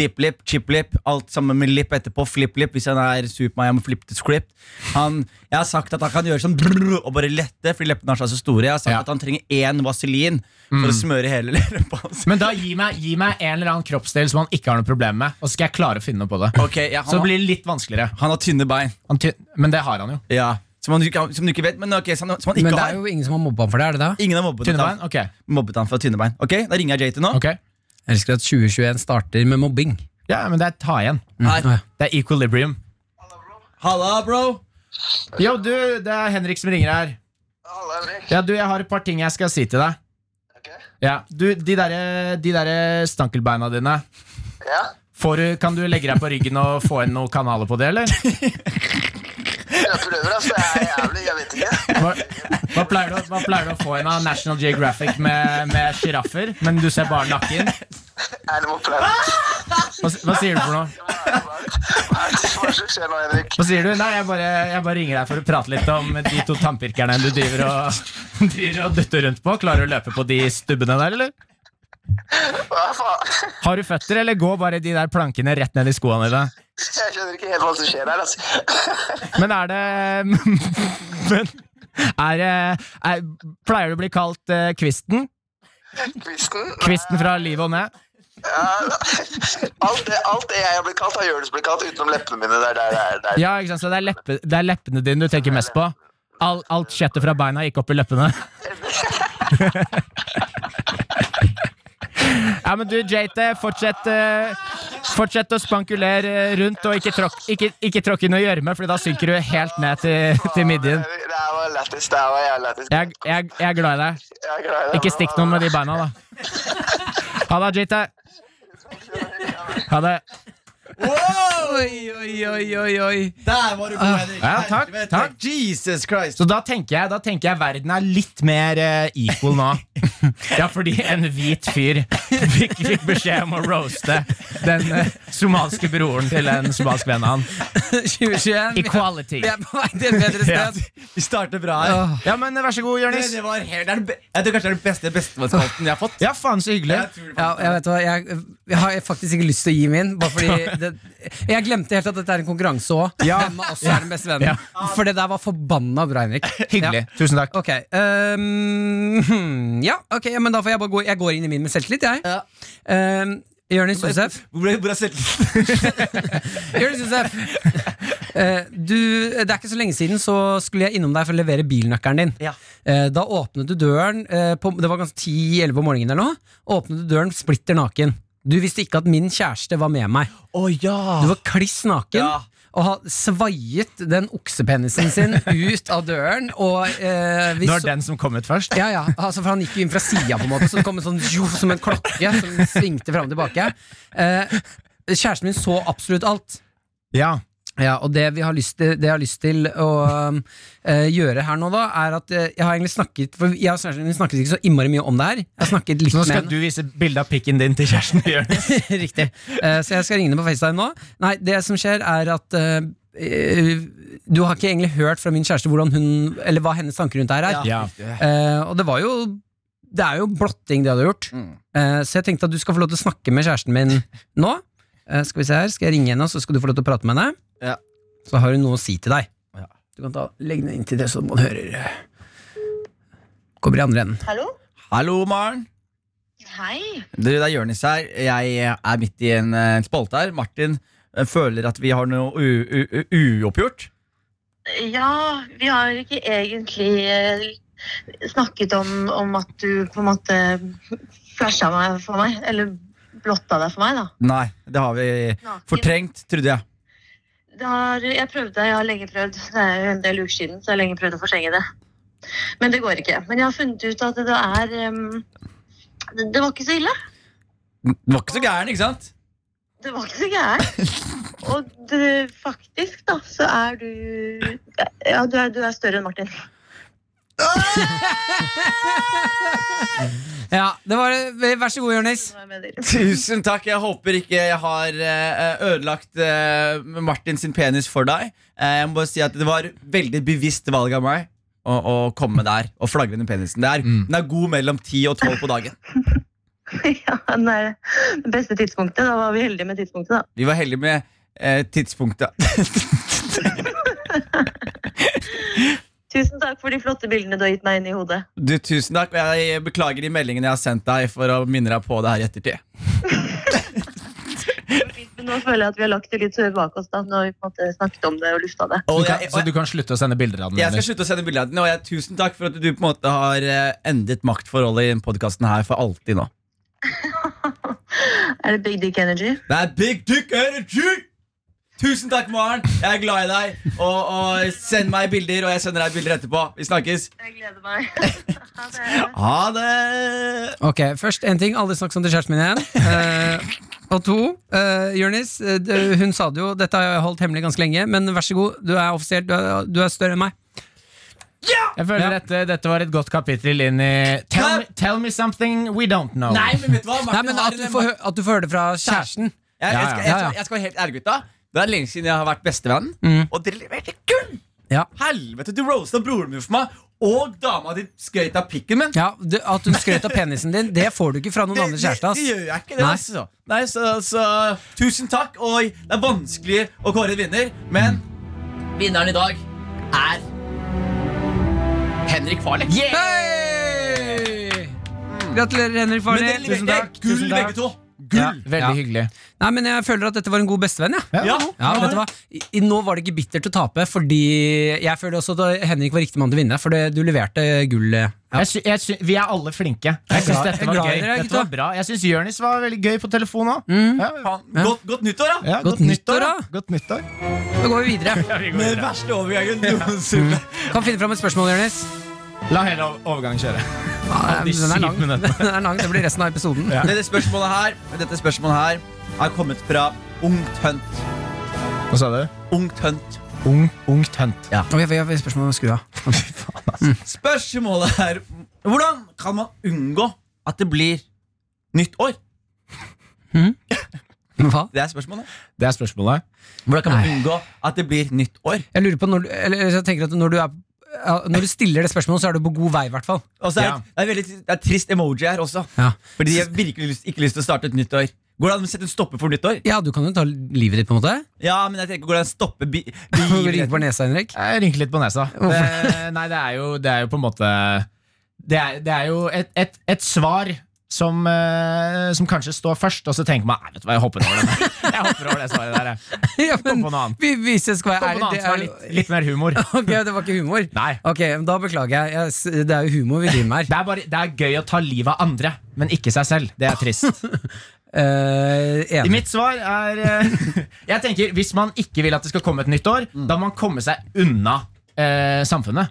C: dip lip, chip lip, alt sammen med lip etterpå, flip lip, hvis han er Superman, jeg må flip the script. Han, jeg har sagt at han kan gjøre sånn brrr, og bare lette, fordi leppene hans er så store. Jeg har sagt
D: Ja.
C: at han trenger én vaselin for å smøre hele leppa hans.
D: Men da gi meg, gi meg en eller annen kroppsdel som han ikke har noe problem med, og så skal jeg klare å finne noe på det.
C: Ok, ja,
D: Så
C: han,
D: det
C: har,
D: blir litt vanskeligere.
C: han har tynne bein.
D: Han ty men det har han jo.
C: Ja. Som, han, ikke- som du ikke vet, men ok, som, han- som han ikke
B: Men det er
C: har.
B: jo ingen som har mobba han for det, er det det?
C: Ingen har mobbet
D: Tynne
C: han.
D: bein? Ok.
C: mobbet han for tynne bein. Ok, Da ringer jeg JT nå.
D: ok.
B: Jeg elsker at 2021 starter med mobbing.
D: Ja, men det er ta igjen.
C: Her.
B: Ja.
D: Det er equilibrium.
C: Halla, bro!
D: Yo, du, det er Henrik som ringer her.
E: Halla, Henrik.
D: Ja, du, jeg har et par ting jeg skal si til deg.
E: Ok.
D: Ja, du, de derre de der stankelbeina dine
E: Ja,
D: får du, Kan du legge deg på ryggen og få inn noen kanaler på det, eller?
E: jeg prøver, altså. Jeg er jævlig, jeg vet ikke.
D: Hva, hva, pleier, du, hva pleier du å få inn av National Geographic med med sjiraffer? Men du ser bare nakken?
E: Er det noe flaut?
D: Hva, s- hva sier du for noe?
E: Hva er det- hva er det- hva er det som er så skjer nå, Henrik?
D: Hva sier du? Nei, jeg bare, jeg bare ringer deg for å prate litt om de to tannpirkerne du driver og, driver og dytter rundt på. Klarer du å løpe på de stubbene der, eller?
E: Hva faen?
D: Har du føtter, eller går bare de der plankene rett ned i skoene dine?
E: Jeg skjønner ikke helt hva som skjer her, altså.
D: Men er det Men er,
F: eh,
D: det- er, Pleier du å bli kalt eh, Kvisten?
E: Kvisten?
D: Kvisten fra livet og ned?
E: Ja. Alt det, alt det jeg har blitt kalt, har Jonis blitt kalt, utenom leppene mine. Der, der, der, der.
D: Ja, ikke sant? Så det er, leppe, det er leppene dine du tenker mest på? All, alt kjøttet fra beina gikk opp i leppene.
F: Ja, men du, JT, fortsett, eh, fortsett å spankulere rundt, og ikke tråkk ikke, ikke tråkk i noe gjørme, for da synker du helt ned til, til midjen.
E: Det her var lættis. Det her var jævlig lættis.
F: Jeg, jeg, jeg er glad i deg.
E: Jeg er glad i deg,
F: Ikke
E: bro.
F: stikk noen med de beina, da. Ha det, JT. Ha det.
B: Oi, oi, oi, oi, oi.
C: Der var du god, Henrik.
D: Ah. Ja, takk,
C: Helvete.
D: takk.
C: Jesus Christ.
D: Så da tenker, jeg, da tenker jeg verden er litt mer eh, equal nå.
F: Ja, fordi en hvit fyr fikk, fikk beskjed om å roaste den eh, somaliske broren til en somalisk venn av han.
B: 2021. Vi-
F: Equality.
B: Vi er på vei til et bedre sted.
C: Vi starter bra her.
B: Åh.
D: Ja, men eh, vær så god,
C: Det,
D: Jonis.
C: det var helt, det er den be- jeg tror kanskje det er den beste bestemannsspalten jeg har fått.
D: Ah. Ja, faen så hyggelig.
C: Jeg tror det
B: Ja,
C: faktisk-
B: jeg vet hva, jeg, jeg har faktisk ikke lyst til å gi min. Bare fordi det, jeg glemte helt at dette er en konkurranse òg. Hvem av oss er den beste vennen? For det der var forbanna bra, Henrik.
D: Hyggelig. Tusen takk.
B: Ok, ehm, hmm, ja, ok, ja, men da får jeg bare gå Jeg går inn i min med selvtillit, jeg.
C: Ja.
B: Ehm, Jonis Josef.
C: Hvor ble- hvor er selvtilliten?
B: Jonis Josef. Eh, du, det er ikke så lenge siden så skulle jeg innom deg for å levere bilnøkkelen din.
C: Ja.
B: Eh, da åpnet du døren eh, på, Det var ganske 10-11 om morgenen eller noe. Åpnet du døren splitter naken. Du visste ikke at min kjæreste var med meg.
C: Å ja!
B: Du var kliss naken.
C: Ja.
B: Og har svaiet den oksepenisen sin ut av døren. Og eh, vi
D: Det var
B: så-
D: den som kom ut først.
B: ja, ja, altså for han gikk jo inn fra sida, på en måte, så det kom en sånn jo, som en klokke som svingte fram og tilbake. Eh, kjæresten min så absolutt alt.
D: Ja.
B: Ja, og det, vi har lyst til, det jeg har lyst til å um, eh, gjøre her nå, da, er at eh, jeg har egentlig snakket For jeg og kjæresten min snakket ikke så innmari mye om det her. Jeg har snakket litt
D: Så nå
B: med
D: skal
B: henne.
D: du vise bilde av pikken din til kjæresten din. Jonis.
B: Riktig. Eh, så jeg skal ringe henne på FaceTime nå. Nei, det som skjer, er at eh, eh, du har ikke egentlig hørt fra min kjæreste hvordan hun, eller hva hennes tanker rundt det her er.
D: Ja.
B: Eh, og det var jo Det er jo blotting det hadde gjort. Eh, så jeg tenkte at du skal få lov til å snakke med kjæresten min nå. Eh, skal vi se her, skal jeg ringe henne, og så skal du få lov til å prate med henne.
C: Ja.
B: Så har hun noe å si til deg. Du kan ta, Legg den inntil det, så man hører eh, Kommer i andre enden.
G: Hallo?
C: Hallo, Maren.
G: Hei.
C: Du, det er Jonis her. Jeg er midt i en, eh, en spalte her. Martin eh, føler at vi har noe u- u- u- uoppgjort.
G: Ja, vi har ikke egentlig eh, snakket om, om at du på en måte flasha meg for meg. Eller blotta deg for meg, da.
C: Nei, det har vi
G: Naken.
C: fortrengt, trodde jeg.
G: Det har, jeg prøvde, jeg har lenge prøvd. Det er jo en del uker siden, så jeg har lenge prøvd å fortrenge det. Men det går ikke. Men jeg har funnet ut at det er em, det, det var ikke så ille.
C: Den var ikke så gæren, ikke sant?
G: Det var ikke så gærent. Og det, faktisk, da, så er du Ja, du er, du er større enn Martin.
B: Ja, det var det. Vær så god, Jonis.
G: Det var jeg mener.
C: Tusen takk. Jeg håper ikke jeg har eh, ødelagt eh, Martin sin penis for deg. Eh, Jeg må bare si at Det var veldig bevisst valg av meg å, å komme der og flagre den penisen. Det er,
D: Mm.
C: Den er god mellom 10 og 12 på dagen.
G: Ja, det er det beste tidspunktet. Da var vi heldige med tidspunktet, da.
C: Vi var heldige med eh, tidspunktet.
G: Tusen takk for de flotte bildene du har gitt meg inn i hodet.
C: Du, Tusen takk. Og jeg beklager de meldingene jeg har sendt deg for å minne deg på det her i ettertid.
G: Men nå føler jeg at vi har lagt det litt bak oss, da, når vi på en måte snakket om det og lufta det.
C: Og
D: Du kan,
C: jeg,
D: så du kan slutte å sende bilder av den?
C: jeg skal
D: Jonis.
C: slutte å sende bilder av den. Og jeg, tusen takk for at du på en måte har eh, endret maktforholdet i denne podkasten her for alltid nå.
G: Er det big dick energy?
C: Det er big dick energy! Tusen takk, Maren. Jeg er glad i deg. Og, og send meg bilder, og jeg sender deg bilder etterpå. Vi snakkes.
G: Jeg gleder meg. Ha det.
C: Ha det!
B: Ok, Først en ting. Aldri snakk sånn til kjæresten min igjen. Eh, og to, eh, Jonis. eh, d- hun sa det jo, dette har jeg holdt hemmelig ganske lenge, men vær så god. Du er offisielt, du er, du er større enn meg.
F: Jeg føler
B: Ja.
F: dette, dette var et godt kapittel inn i tell me, tell me something we don't know.
C: Nei, men vet du hva?
B: Nei,
C: Martin
B: men
C: har
B: At du
C: en-
B: får, hø- at du får høre det fra kjæresten.
C: jeg, jeg, skal, jeg,
B: Ja, ja.
C: skal, jeg skal være helt ærlig, gutta. Det er lenge siden jeg har vært bestevenn. Og dere leverte gull!
B: Mm. Ja.
C: Helvete, du roasta broren min for meg, og dama di skrøt av pikken min.
B: Ja, du, At hun skrøt av penisen din, det får du ikke fra noen
C: Det-
B: andre kjæreste.
C: Det, det gjør
B: ass.
C: jeg ikke. det
B: Nei.
C: altså. Nei, så, så tusen takk. Og det er vanskelig å kåre en vinner, men vinneren i dag er Henrik Farley.
B: Hei! Gratulerer, Henrik
C: Men
B: Farley.
C: dere leverte gull, begge to.
H: Gull!
D: Veldig hyggelig.
B: Nei, men jeg føler at dette var en god bestevenn, jeg.
H: Ja.
B: Ja, vet du hva? I, i- nå var det ikke bittert å tape, fordi jeg føler også at Henrik var riktig mann til å vinne, for det, du leverte gull. eh. Ja.
D: Jeg sy jeg sy vi er alle flinke. Jeg syns
B: glad-
D: dette
B: jeg
D: var
B: er glad i
D: gøy.
B: dere,
D: Dette var
B: gutta.
D: bra. Jeg syns Jonis var veldig gøy på telefon òg.
C: Faen, Godt, godt nyttår, da!
D: Ja,
B: Godt nyttår, da.
D: Godt nyttår.
B: Da går vi videre.
C: Den verste overgangen noensinne.
B: Kan finne fram et spørsmål, Jonis.
D: La hele ov- overgangen kjøre.
B: Ja, den,
D: de
B: er
D: syv
B: lang. den
D: minuttene.
B: er lang. Det blir resten av episoden.
C: Dette spørsmålet her Dette spørsmålet her har kommet fra Ungt Hunt.
D: Hva sa du?
C: Ungt Hunt.
D: Ung, ungt hønt.
B: Og vi- vi har spørsmål om skua.
C: Spørsmålet er hvordan kan man unngå at det blir nytt år?
B: Hva?
C: Det er spørsmålet.
D: Det er spørsmålet.
C: Hvordan kan man
B: Nei.
C: unngå at det blir nytt år?
B: Jeg lurer på når, du- eller, jeg tenker at når du, er, ja, når du stiller det spørsmålet, så er du på god vei, i hvert fall.
C: Og så er,
D: Ja.
C: det, er veldig, det er trist emoji her også.
B: Ja.
C: Fordi jeg har virkelig lyst, ikke lyst til å starte et nytt år. Går det an å sette en stopper for nytt år?
B: ja, du kan jo ta livet ditt, på en måte.
C: Ja, men jeg tenker Går det an å stoppe bi
B: Ring på
C: begivenheten?
B: nesa, Henrik.
D: Jeg rynker litt på nesa. Det, nei, det er jo, det er jo på en måte Det er, det er jo et, et, et svar som, eh, som kanskje står først, og så tenker man Nei, vet du hva, jeg hopper over det. Jeg hopper over det svaret der. jeg.
B: Ja,
D: Kom på noe annet.
B: vi, hvis jeg skal
D: Kom
B: være
D: på noe
B: ærlig,
D: annet som er
B: det
D: litt,
B: er
D: litt mer humor.
B: Ok, det var ikke humor?
D: Nei.
B: Ok, men Da beklager jeg. jeg. s- Det er jo humor vi driver med her.
D: Det er, bare, det er gøy å ta livet av andre, men ikke seg selv. Det er trist.
B: Eh, enig.
D: Mitt svar er eh, Jeg tenker, Hvis man ikke vil at det skal komme et nytt år, da må man komme seg unna eh, samfunnet.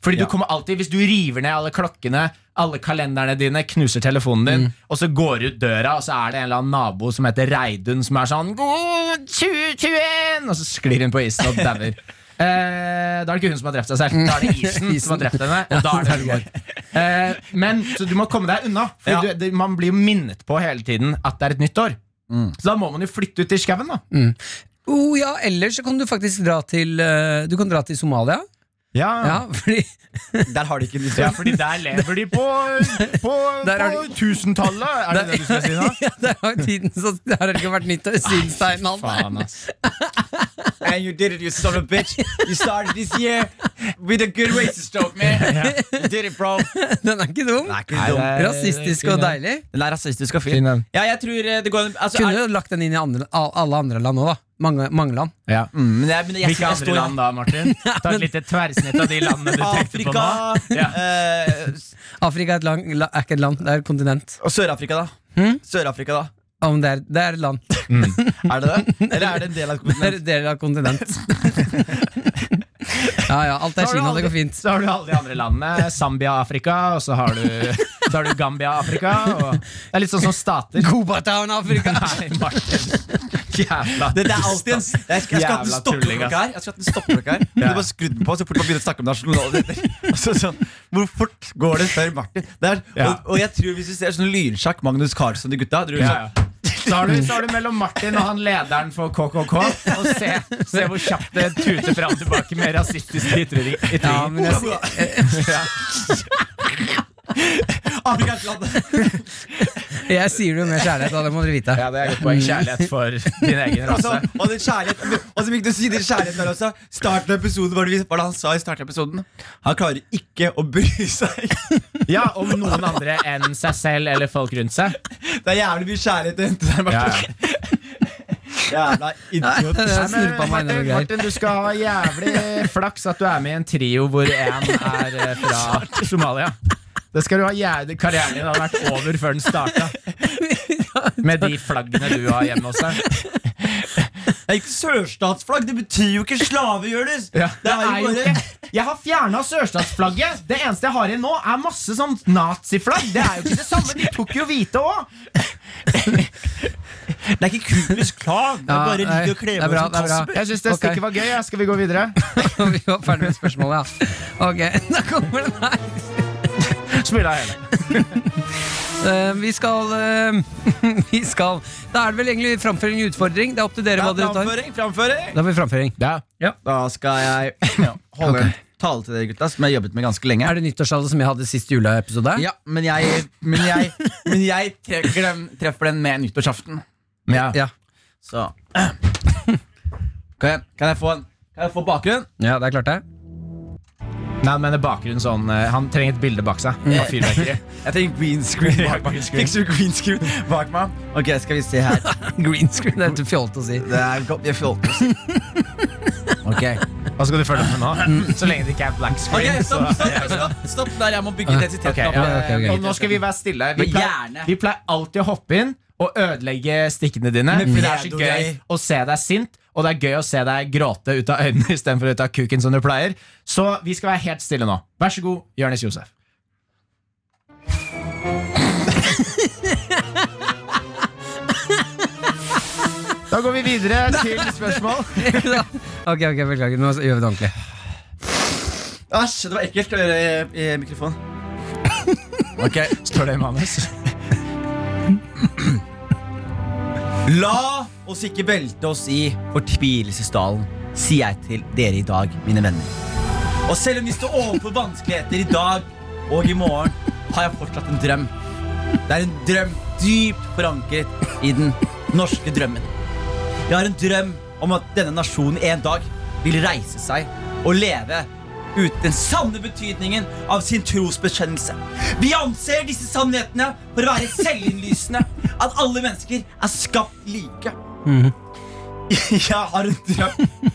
D: Fordi du kommer alltid, Hvis du river ned alle klokkene, alle kalenderne dine, knuser telefonen din, og så går du ut døra, og så er det en eller annen nabo som heter Reidun, som er sånn God 2021! Og så sklir hun på isen og dauer. Eh, da er det ikke hun som har drept seg selv. Da er det isen, som har drept henne. Og da er det hun går. Eh, men så du må komme deg unna. For
C: Ja.
D: du, det, man blir jo minnet på hele tiden at det er et nytt år. Så da må man jo flytte ut i skauen, da.
B: Oh, ja, ellers så kan du faktisk dra til eh, Du kan dra til Somalia.
D: Ja.
B: Ja, fordi
C: Der har de ikke nytt år.
D: fordi der lever de på, på,
B: Der er
D: på tusentallet, er det det du skal si nå?
B: ja, der har tiden så Der har det ikke vært nytt år siden steinalderen.
D: Faen, ass.
C: And you did it, you son of a bitch. You started this year with a good racist stroke, man. You did it, bro.
B: Den er ikke dum.
C: Den er ikke dum.
D: det er-
B: Rasistisk
D: Eh,
B: og deilig.
C: Den er rasistisk og
D: Fin
C: fin.
D: den.
C: Ja, jeg tror eh, det går an altså,
B: Kunne
C: er,
B: jo lagt den inn i andre, al- alle andre land òg, da. Mange, mange land.
D: Ja.
C: mm, men jeg, men jeg, jeg,
D: Hvilke andre
C: står-
D: land da, Martin? Ta et lite tverrsnitt av de landene du tenkte på
C: Afrika
D: nå. Ja.
C: eh,
B: Afrika er, et lang, la, er ikke et land, det er et kontinent.
C: Og Eh, Sør-Afrika, da. Sør-Afrika, da.
B: Om det, er, det er et land.
C: Er det det? Eller er det en del av
B: Det er
C: kontinentet?
B: en del av et kontinent. ja ja, alt
D: Så
B: er
D: har du
B: Kina, det
D: aldri-
B: går fint.
D: Så har du alle de andre landene. Zambia-Afrika, og så har du, så har du Gambia-Afrika. og- Det er litt sånn som stater.
B: Cobatown, Afrika!
D: Nei, Martin. Jævla
C: Det, det er alltid en Jeg skal, jeg skal ha
D: Jævla
C: en
D: tulling, ass.
C: stoppeklokke her. Jeg skal ha en stoppeklokke her Du bare skrudd den på så fort man begynner å snakke om nasjonaliteter. Altså, sånn, hvor fort går det før Martin? Det er,
D: Ja.
C: og, og jeg tror Hvis du ser sånn lynsjakk, Magnus Carlsen de gutta tror du
D: Ja,
C: sånn,
D: ja. Så har, du, så har du mellom Martin og han lederen for KKK. Og se, se hvor kjapt det tuter fram og tilbake med rasistiske ytringer.
B: Ja, men jeg,
C: Afrika er et land.
B: jeg sier det jo med kjærlighet, da, det må dere vite. Mm.
D: Ja, det er godt poeng. Kjærlighet for din egen
C: Og
D: rase.
C: så- Altså, og den kjærligheten Og så fikk du si den kjærligheten der også. Starten av episoden var det, vi- var det han sa i starten av episoden. Han klarer ikke å bry seg.
D: Ja, Om noen andre enn seg selv eller folk rundt seg.
C: Det er jævlig mye kjærlighet å hente der,
D: Ja,
C: Martin.
D: ja.
C: Jævla idiot.
B: Jeg
D: Nei,
B: snurpa
D: men
B: meg innom noe
D: Martin,
B: greier.
D: Martin, du skal ha jævlig flaks at du er med i en trio hvor én er eh, fra Somalia. Det skal du ha jævlig, Karrieren din hadde vært over før den starta. Med de flaggene du har hjemme hos deg.
C: Det er ikke sørstatsflagg. Det betyr jo ikke slavehjørnes.
D: Ja.
C: Det er jo bare
D: Jeg har fjerna sørstatsflagget! Det eneste jeg har igjen nå, er masse sånn naziflagg. Det er jo ikke det samme, de tok jo hvite òg!
C: Det er ikke Kubus klan. Det er
B: Ja,
C: bare
B: nei,
C: ligge og kle
B: det er
C: meg
B: bra,
C: som
B: det er bra.
C: Kasper.
D: Jeg syns det
B: Ok.
D: stikket var gøy. ja. Skal vi gå videre?
B: Vi var ferdig med spørsmålet, ja. Ok, da kommer den her.
D: Smil av hele.
B: Eh, vi skal eh, Vi skal Da er det vel egentlig framføring og utfordring. Det er opp til dere hva dere tar.
C: Framføring, framføring.
B: Da blir det framføring.
C: Da skal jeg ja, holde en tale til dere gutta, som jeg har jobbet med ganske lenge.
B: Er det nyttårstale som jeg hadde sist juleepisode?
C: Ja, men jeg, men jeg, men jeg trekker den, treffer den med nyttårsaften.
B: Ja.
C: Så kan jeg, kan jeg få en kan jeg få bakgrunn?
B: Ja, det er klart det.
D: Nei, men det er bakgrunnen sånn eh, Han trenger et bilde bak seg
C: Mm.
D: av fyrverkeri.
C: Jeg tenker green screen bak meg.
D: green screen.
C: Fikser du green screen bak meg? Ok, skal vi se her.
B: Green screen, det er helt fjolt å si.
C: Det er godt, jeg fjolter. Ok.
D: Hva skal du følge opp med nå? Så lenge det ikke er black
C: Mm. Ok,
D: screen. så-
C: stopp, stopp, stopp, stopp der. Jeg må bygge
D: Ok,
C: identiteten
D: ja,
C: opp.
B: ok, ok.
D: Og nå skal vi være stille. Vi
C: Men
D: pleier,
C: gjerne.
D: vi pleier alltid å hoppe inn og ødelegge stikkene dine.
C: Med
D: For det er så gøy
C: pedo-greier.
D: å se deg sint, og det er gøy å se deg gråte ut av øynene istedenfor ut av kuken, som du pleier. Så vi skal være helt stille nå. Vær så god, Jonis Josef. Da går vi videre til spørsmål.
B: ok, ok, beklager. Nå gjør vi det ordentlig.
C: Æsj, det var ekkelt å gjøre i, i mikrofonen.
D: Står det i manus?
C: La oss ikke velte oss i fortvilelsesdalen, sier jeg til dere i dag, mine venner. Og selv om vi står overfor vanskeligheter i dag og i morgen, har jeg fortsatt en drøm. Det er en drøm dypt forankret i den norske drømmen. Jeg har en drøm om at denne nasjonen en dag vil reise seg og leve uten den sanne betydningen av sin trosbekjennelse. Vi anser disse sannhetene for å være selvinnlysende. At alle mennesker er skapt like. Jeg har en drøm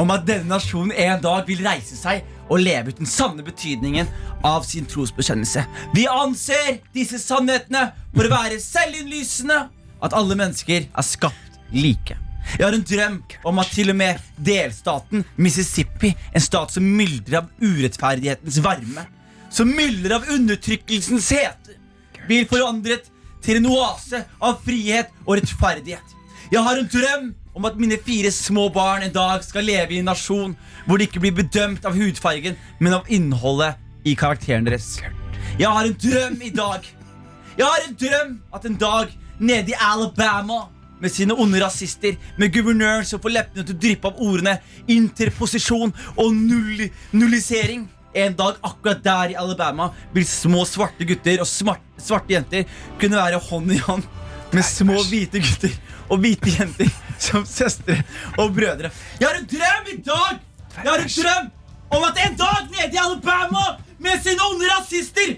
C: om at denne nasjonen en dag vil reise seg og leve ut den sanne betydningen av sin trosbekjennelse. Vi anser disse sannhetene for å være selvinnlysende. At alle mennesker er skapt like. Jeg har en drøm om at til og med delstaten Mississippi, en stat som myldrer av urettferdighetens varme, som myldrer av undertrykkelsens hete, blir forandret til en oase av frihet og rettferdighet. Jeg har en drøm om at mine fire små barn en dag skal leve i en nasjon hvor de ikke blir bedømt av hudfargen, men av innholdet i karakteren deres. Jeg har en drøm i dag. Jeg har en drøm at en dag nede i Alabama med sine onde rasister, med guvernøren som får leppene til å dryppe av ordene interposisjon og null, nullisering. En dag akkurat der i Alabama vil små svarte gutter og smart, svarte jenter kunne være hånd i hånd med små hvite gutter og hvite jenter som søstre og brødre. Jeg har en drøm i dag! Jeg har en drøm om at en dag nede i Alabama med sine onde rasister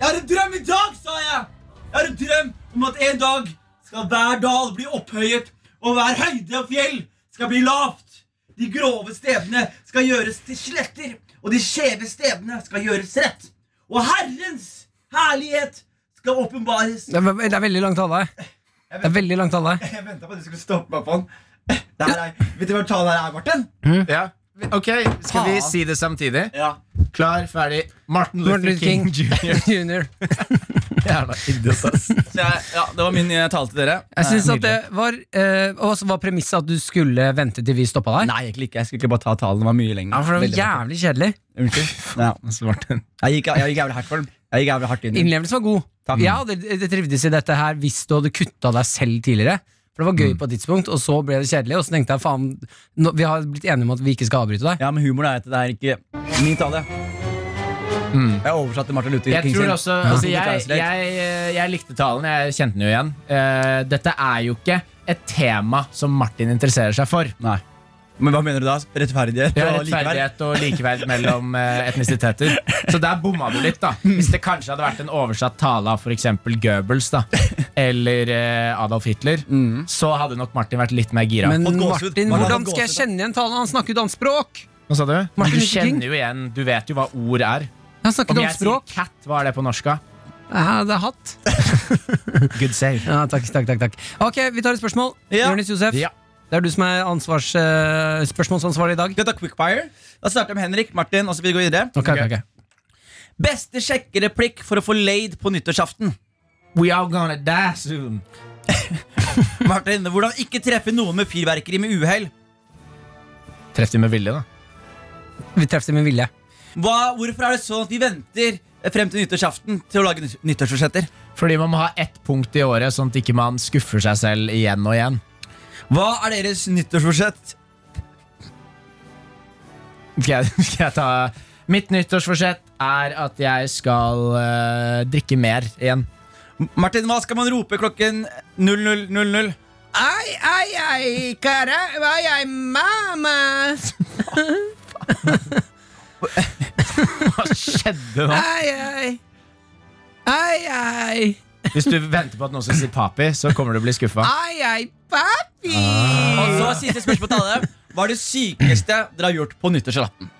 C: jeg har en drøm i dag, sa jeg! Jeg har en drøm om at en dag skal hver dal bli opphøyet, og hver høyde og fjell skal bli lavt. De grove stedene skal gjøres til sletter, og de skjeve stedene skal gjøres rett. Og Herrens herlighet skal åpenbares.
B: Det er, det er veldig lang tale. Det er veldig lang tale.
C: Jeg venta på at du skulle stoppe meg på den. Det her er, vet du hva talen her er, Martin?
D: Ja. Ok, skal vi si det samtidig?
C: Ja.
D: Klar, ferdig. Martin
B: Martin
D: Luther King jr.
B: Junior.
D: Jævla idiot, ass.
C: Så jeg, ja, det var min eh, tale til dere.
B: Jeg synes at det var eh, Og så var premisset at du skulle vente til vi stoppa der?
C: Nei, egentlig ikke. Jeg skulle ikke bare ta talen. Den var mye
B: Ja,
C: lenger.
B: for det var
C: Veldig bra.
B: jævlig kjedelig.
C: Unnskyld. Ja.
D: Martin.
C: Jeg gikk, jeg gikk jævlig hardt for den. Jeg gikk jævlig hardt inn i den.
B: Innlevelsen var god.
C: Takk.
B: Jeg hadde jeg trivdes i dette her hvis du hadde kutta deg selv tidligere. For det var gøy på et tidspunkt, og så ble det kjedelig. Og så tenkte jeg faen, nå, vi har blitt enige om at vi ikke skal avbryte deg.
C: Ja, men humoren er at det er ikke min tale. Jeg oversatte Martin Luther
D: Mm. Jeg
C: King
D: tror
C: sin.
D: også altså,
C: Google
D: jeg,
C: Translate.
D: jeg, jeg likte talen. Jeg kjente den jo igjen. Eh, dette er jo ikke et tema som Martin interesserer seg for.
C: Nei. Men hva mener du da? Rettferdighet
D: Ja,
C: og likeverd?
D: rettferdighet og likeverd mellom eh, etnisiteter. Så der bomma du litt, da. Hvis det kanskje hadde vært en oversatt tale av f.eks. Goebbels da eller eh, Adolf Hitler, så hadde nok Martin vært litt mer gira.
B: Men
C: Fått gåsehud.
B: Martin,
C: Martin,
B: hvordan
C: fått
B: skal jeg
C: gåsehud.
B: kjenne igjen talen? Han snakker jo et annet språk!
D: Hva sa du?
B: Martin
D: du
B: Luther King?
D: kjenner jo igjen Du vet jo hva ord er.
B: Han snakker
D: Om
B: et
D: jeg
B: annet språk.
D: sier cat, hva er det på norsk? da?
B: Ja, det er hatt.
D: Good save.
B: Ja, takk, takk, takk, takk. Ok, vi tar et spørsmål.
C: Ja.
B: Jonis Josef,
D: Ja.
B: det er du som er ansvars, eh, spørsmålsansvarlig i dag.
C: Skal vi ta quickfire? Da starter jeg med Henrik, Martin, og så vil vi gå videre.
B: Ok, ok, ok.
C: Beste sjekkereplikk for å få laid på nyttårsaften.
D: We are gonna die soon.
C: Martin, hvordan ikke treffe noen med fyrverkeri med uhell?
D: Treff de med vilje, da.
B: Vi treffes med vilje.
C: Hva- Hvorfor er det sånn at vi venter frem til nyttårsaften til å lage nytt- nyttårsforsetter?
D: Fordi man må ha ett punkt i året, sånn at ikke man skuffer seg selv igjen og igjen.
C: Hva er deres nyttårsforsett?
D: Skal jeg, skal jeg ta Mitt nyttårsforsett er at jeg skal eh, drikke mer igjen.
C: Martin, hva skal man rope klokken 00.00?
B: Ai, ai, ai, kara, ai, ai, mamma!
D: Hva skjedde nå?
B: Ei, ei. Ei, ei.
D: Hvis du venter på at noen skal si papi, så kommer du til å bli skuffa.
B: Ei, ei, papi.
C: Og så siste spørsmål til alle. Hva er det sykeste dere har gjort på nyttårsaften?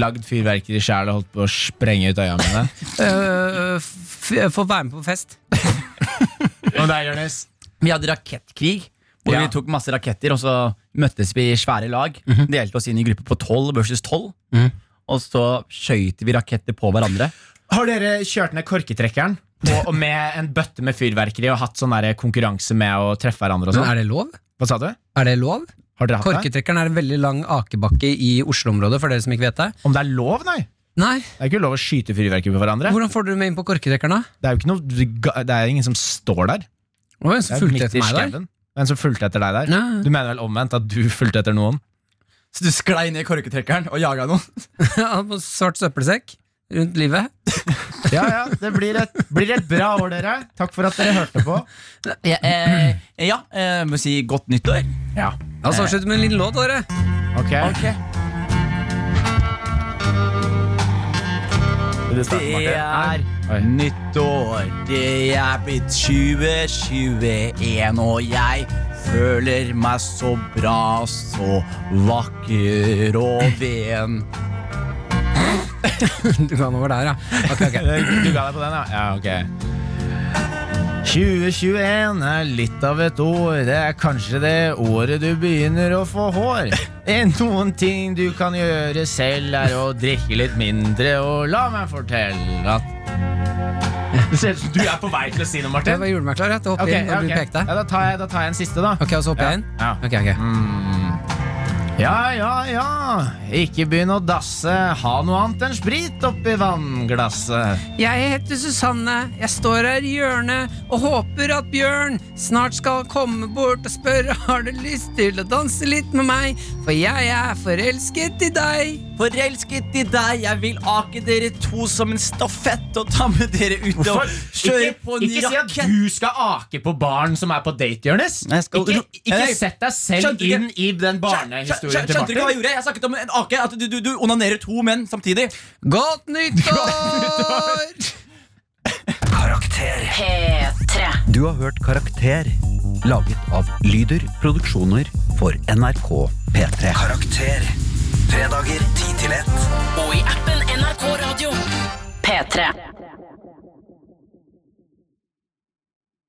D: Lagd fyrverkeri sjæl og holdt på å sprenge ut øya mine.
B: Øh, f- Få være med på fest.
D: Og deg, Jonis?
C: Vi hadde rakettkrig. Hvor
D: Ja.
C: vi tok masse raketter, og så møttes vi i svære lag. Delte oss inn i grupper på tolv versus tolv. Og så skøyt vi raketter på hverandre.
D: Har dere kjørt ned korketrekkeren? Og, og med en bøtte med fyrverkeri og hatt sånn der konkurranse med å treffe hverandre og
B: Men
D: sånn?
B: er det lov?
D: Hva sa du?
B: Er det lov?
D: Har dere hatt det?
B: Korketrekkeren er en veldig lang akebakke i Oslo-området, for dere som ikke vet det.
D: Om det er lov, nei?
B: Nei,
D: Det er ikke lov å skyte fyrverkeri på hverandre.
B: hvordan får dere meg inn på korketrekkeren, da?
D: Det er jo ikke noe, det er ingen som står der.
B: Å, en
D: Det
B: som
D: er
B: fulgte
D: midt
B: etter
D: i
B: meg der.
D: skauen. En som fulgte etter deg der.
B: Nei.
D: Du mener vel omvendt at du fulgte etter noen?
C: Så du sklei ned i korketrekkeren og jaga noen.
B: Ja, på svart søppelsekk rundt livet.
D: Ja, ja, det blir et, blir et bra år, dere. Takk for at dere hørte på.
C: Ja, eh, ja eh, må si godt nyttår.
D: Ja,
B: La oss avslutte med en liten låt, dere.
D: ok. Vil du starte,
C: Det
D: Martin?
C: er
D: Oi.
C: nyttår, det er blitt 2021, og jeg føler meg så bra, så vakker og ven.
B: Du kan over der, ja. Ok, ok.
D: Eh, Du ga deg på den, ja? Ja, ok. 2021 er litt av et år. Det er kanskje det året du begynner å få hår. En- Noen ting du kan gjøre selv, er å drikke litt mindre, og la meg fortelle at Det ser ut som du er på vei til å si noe,
B: Det
D: Martin.
B: var julemekler, rett. Hopp
D: Ok,
B: inn og bli
D: ok.
B: pekt der.
D: Ja, da, tar jeg, da tar jeg en siste, da.
B: Ok, og så hopper jeg inn?
D: Ja. Mm.
B: Ok, ok.
D: Ja, ja, ja. Ikke begynn å dasse. Ha noe annet enn sprit oppi vannglasset.
B: Jeg heter Susanne, jeg står her i hjørnet og håper at Bjørn snart skal komme bort og spørre har du lyst til å danse litt med meg, for jeg er forelsket i deg.
C: Forelsket i deg, jeg vil ake dere to som en stafett og ta med dere ut og kjøre
D: Ikke,
C: på en
D: ikke si at
C: rakett.
D: du skal ake på barn som er på date, Jonis.
C: Nei, jeg skal-
D: Ikke, ikke
C: Nei,
D: sett deg selv
C: skjønte ikke-
D: inn i den barnehistorien
C: Skjønte
D: til
C: du ikke hva jeg
D: Martin.
C: gjorde? Jeg snakket om en ake. At du, du, du onanerer to menn samtidig.
B: Godt nyttår!
I: P3.
J: Du har hørt Karakter, laget av Lyder Produksjoner for NRK P3. Karakter. Fredager 10 til 1.
I: Og i appen NRK Radio. P3.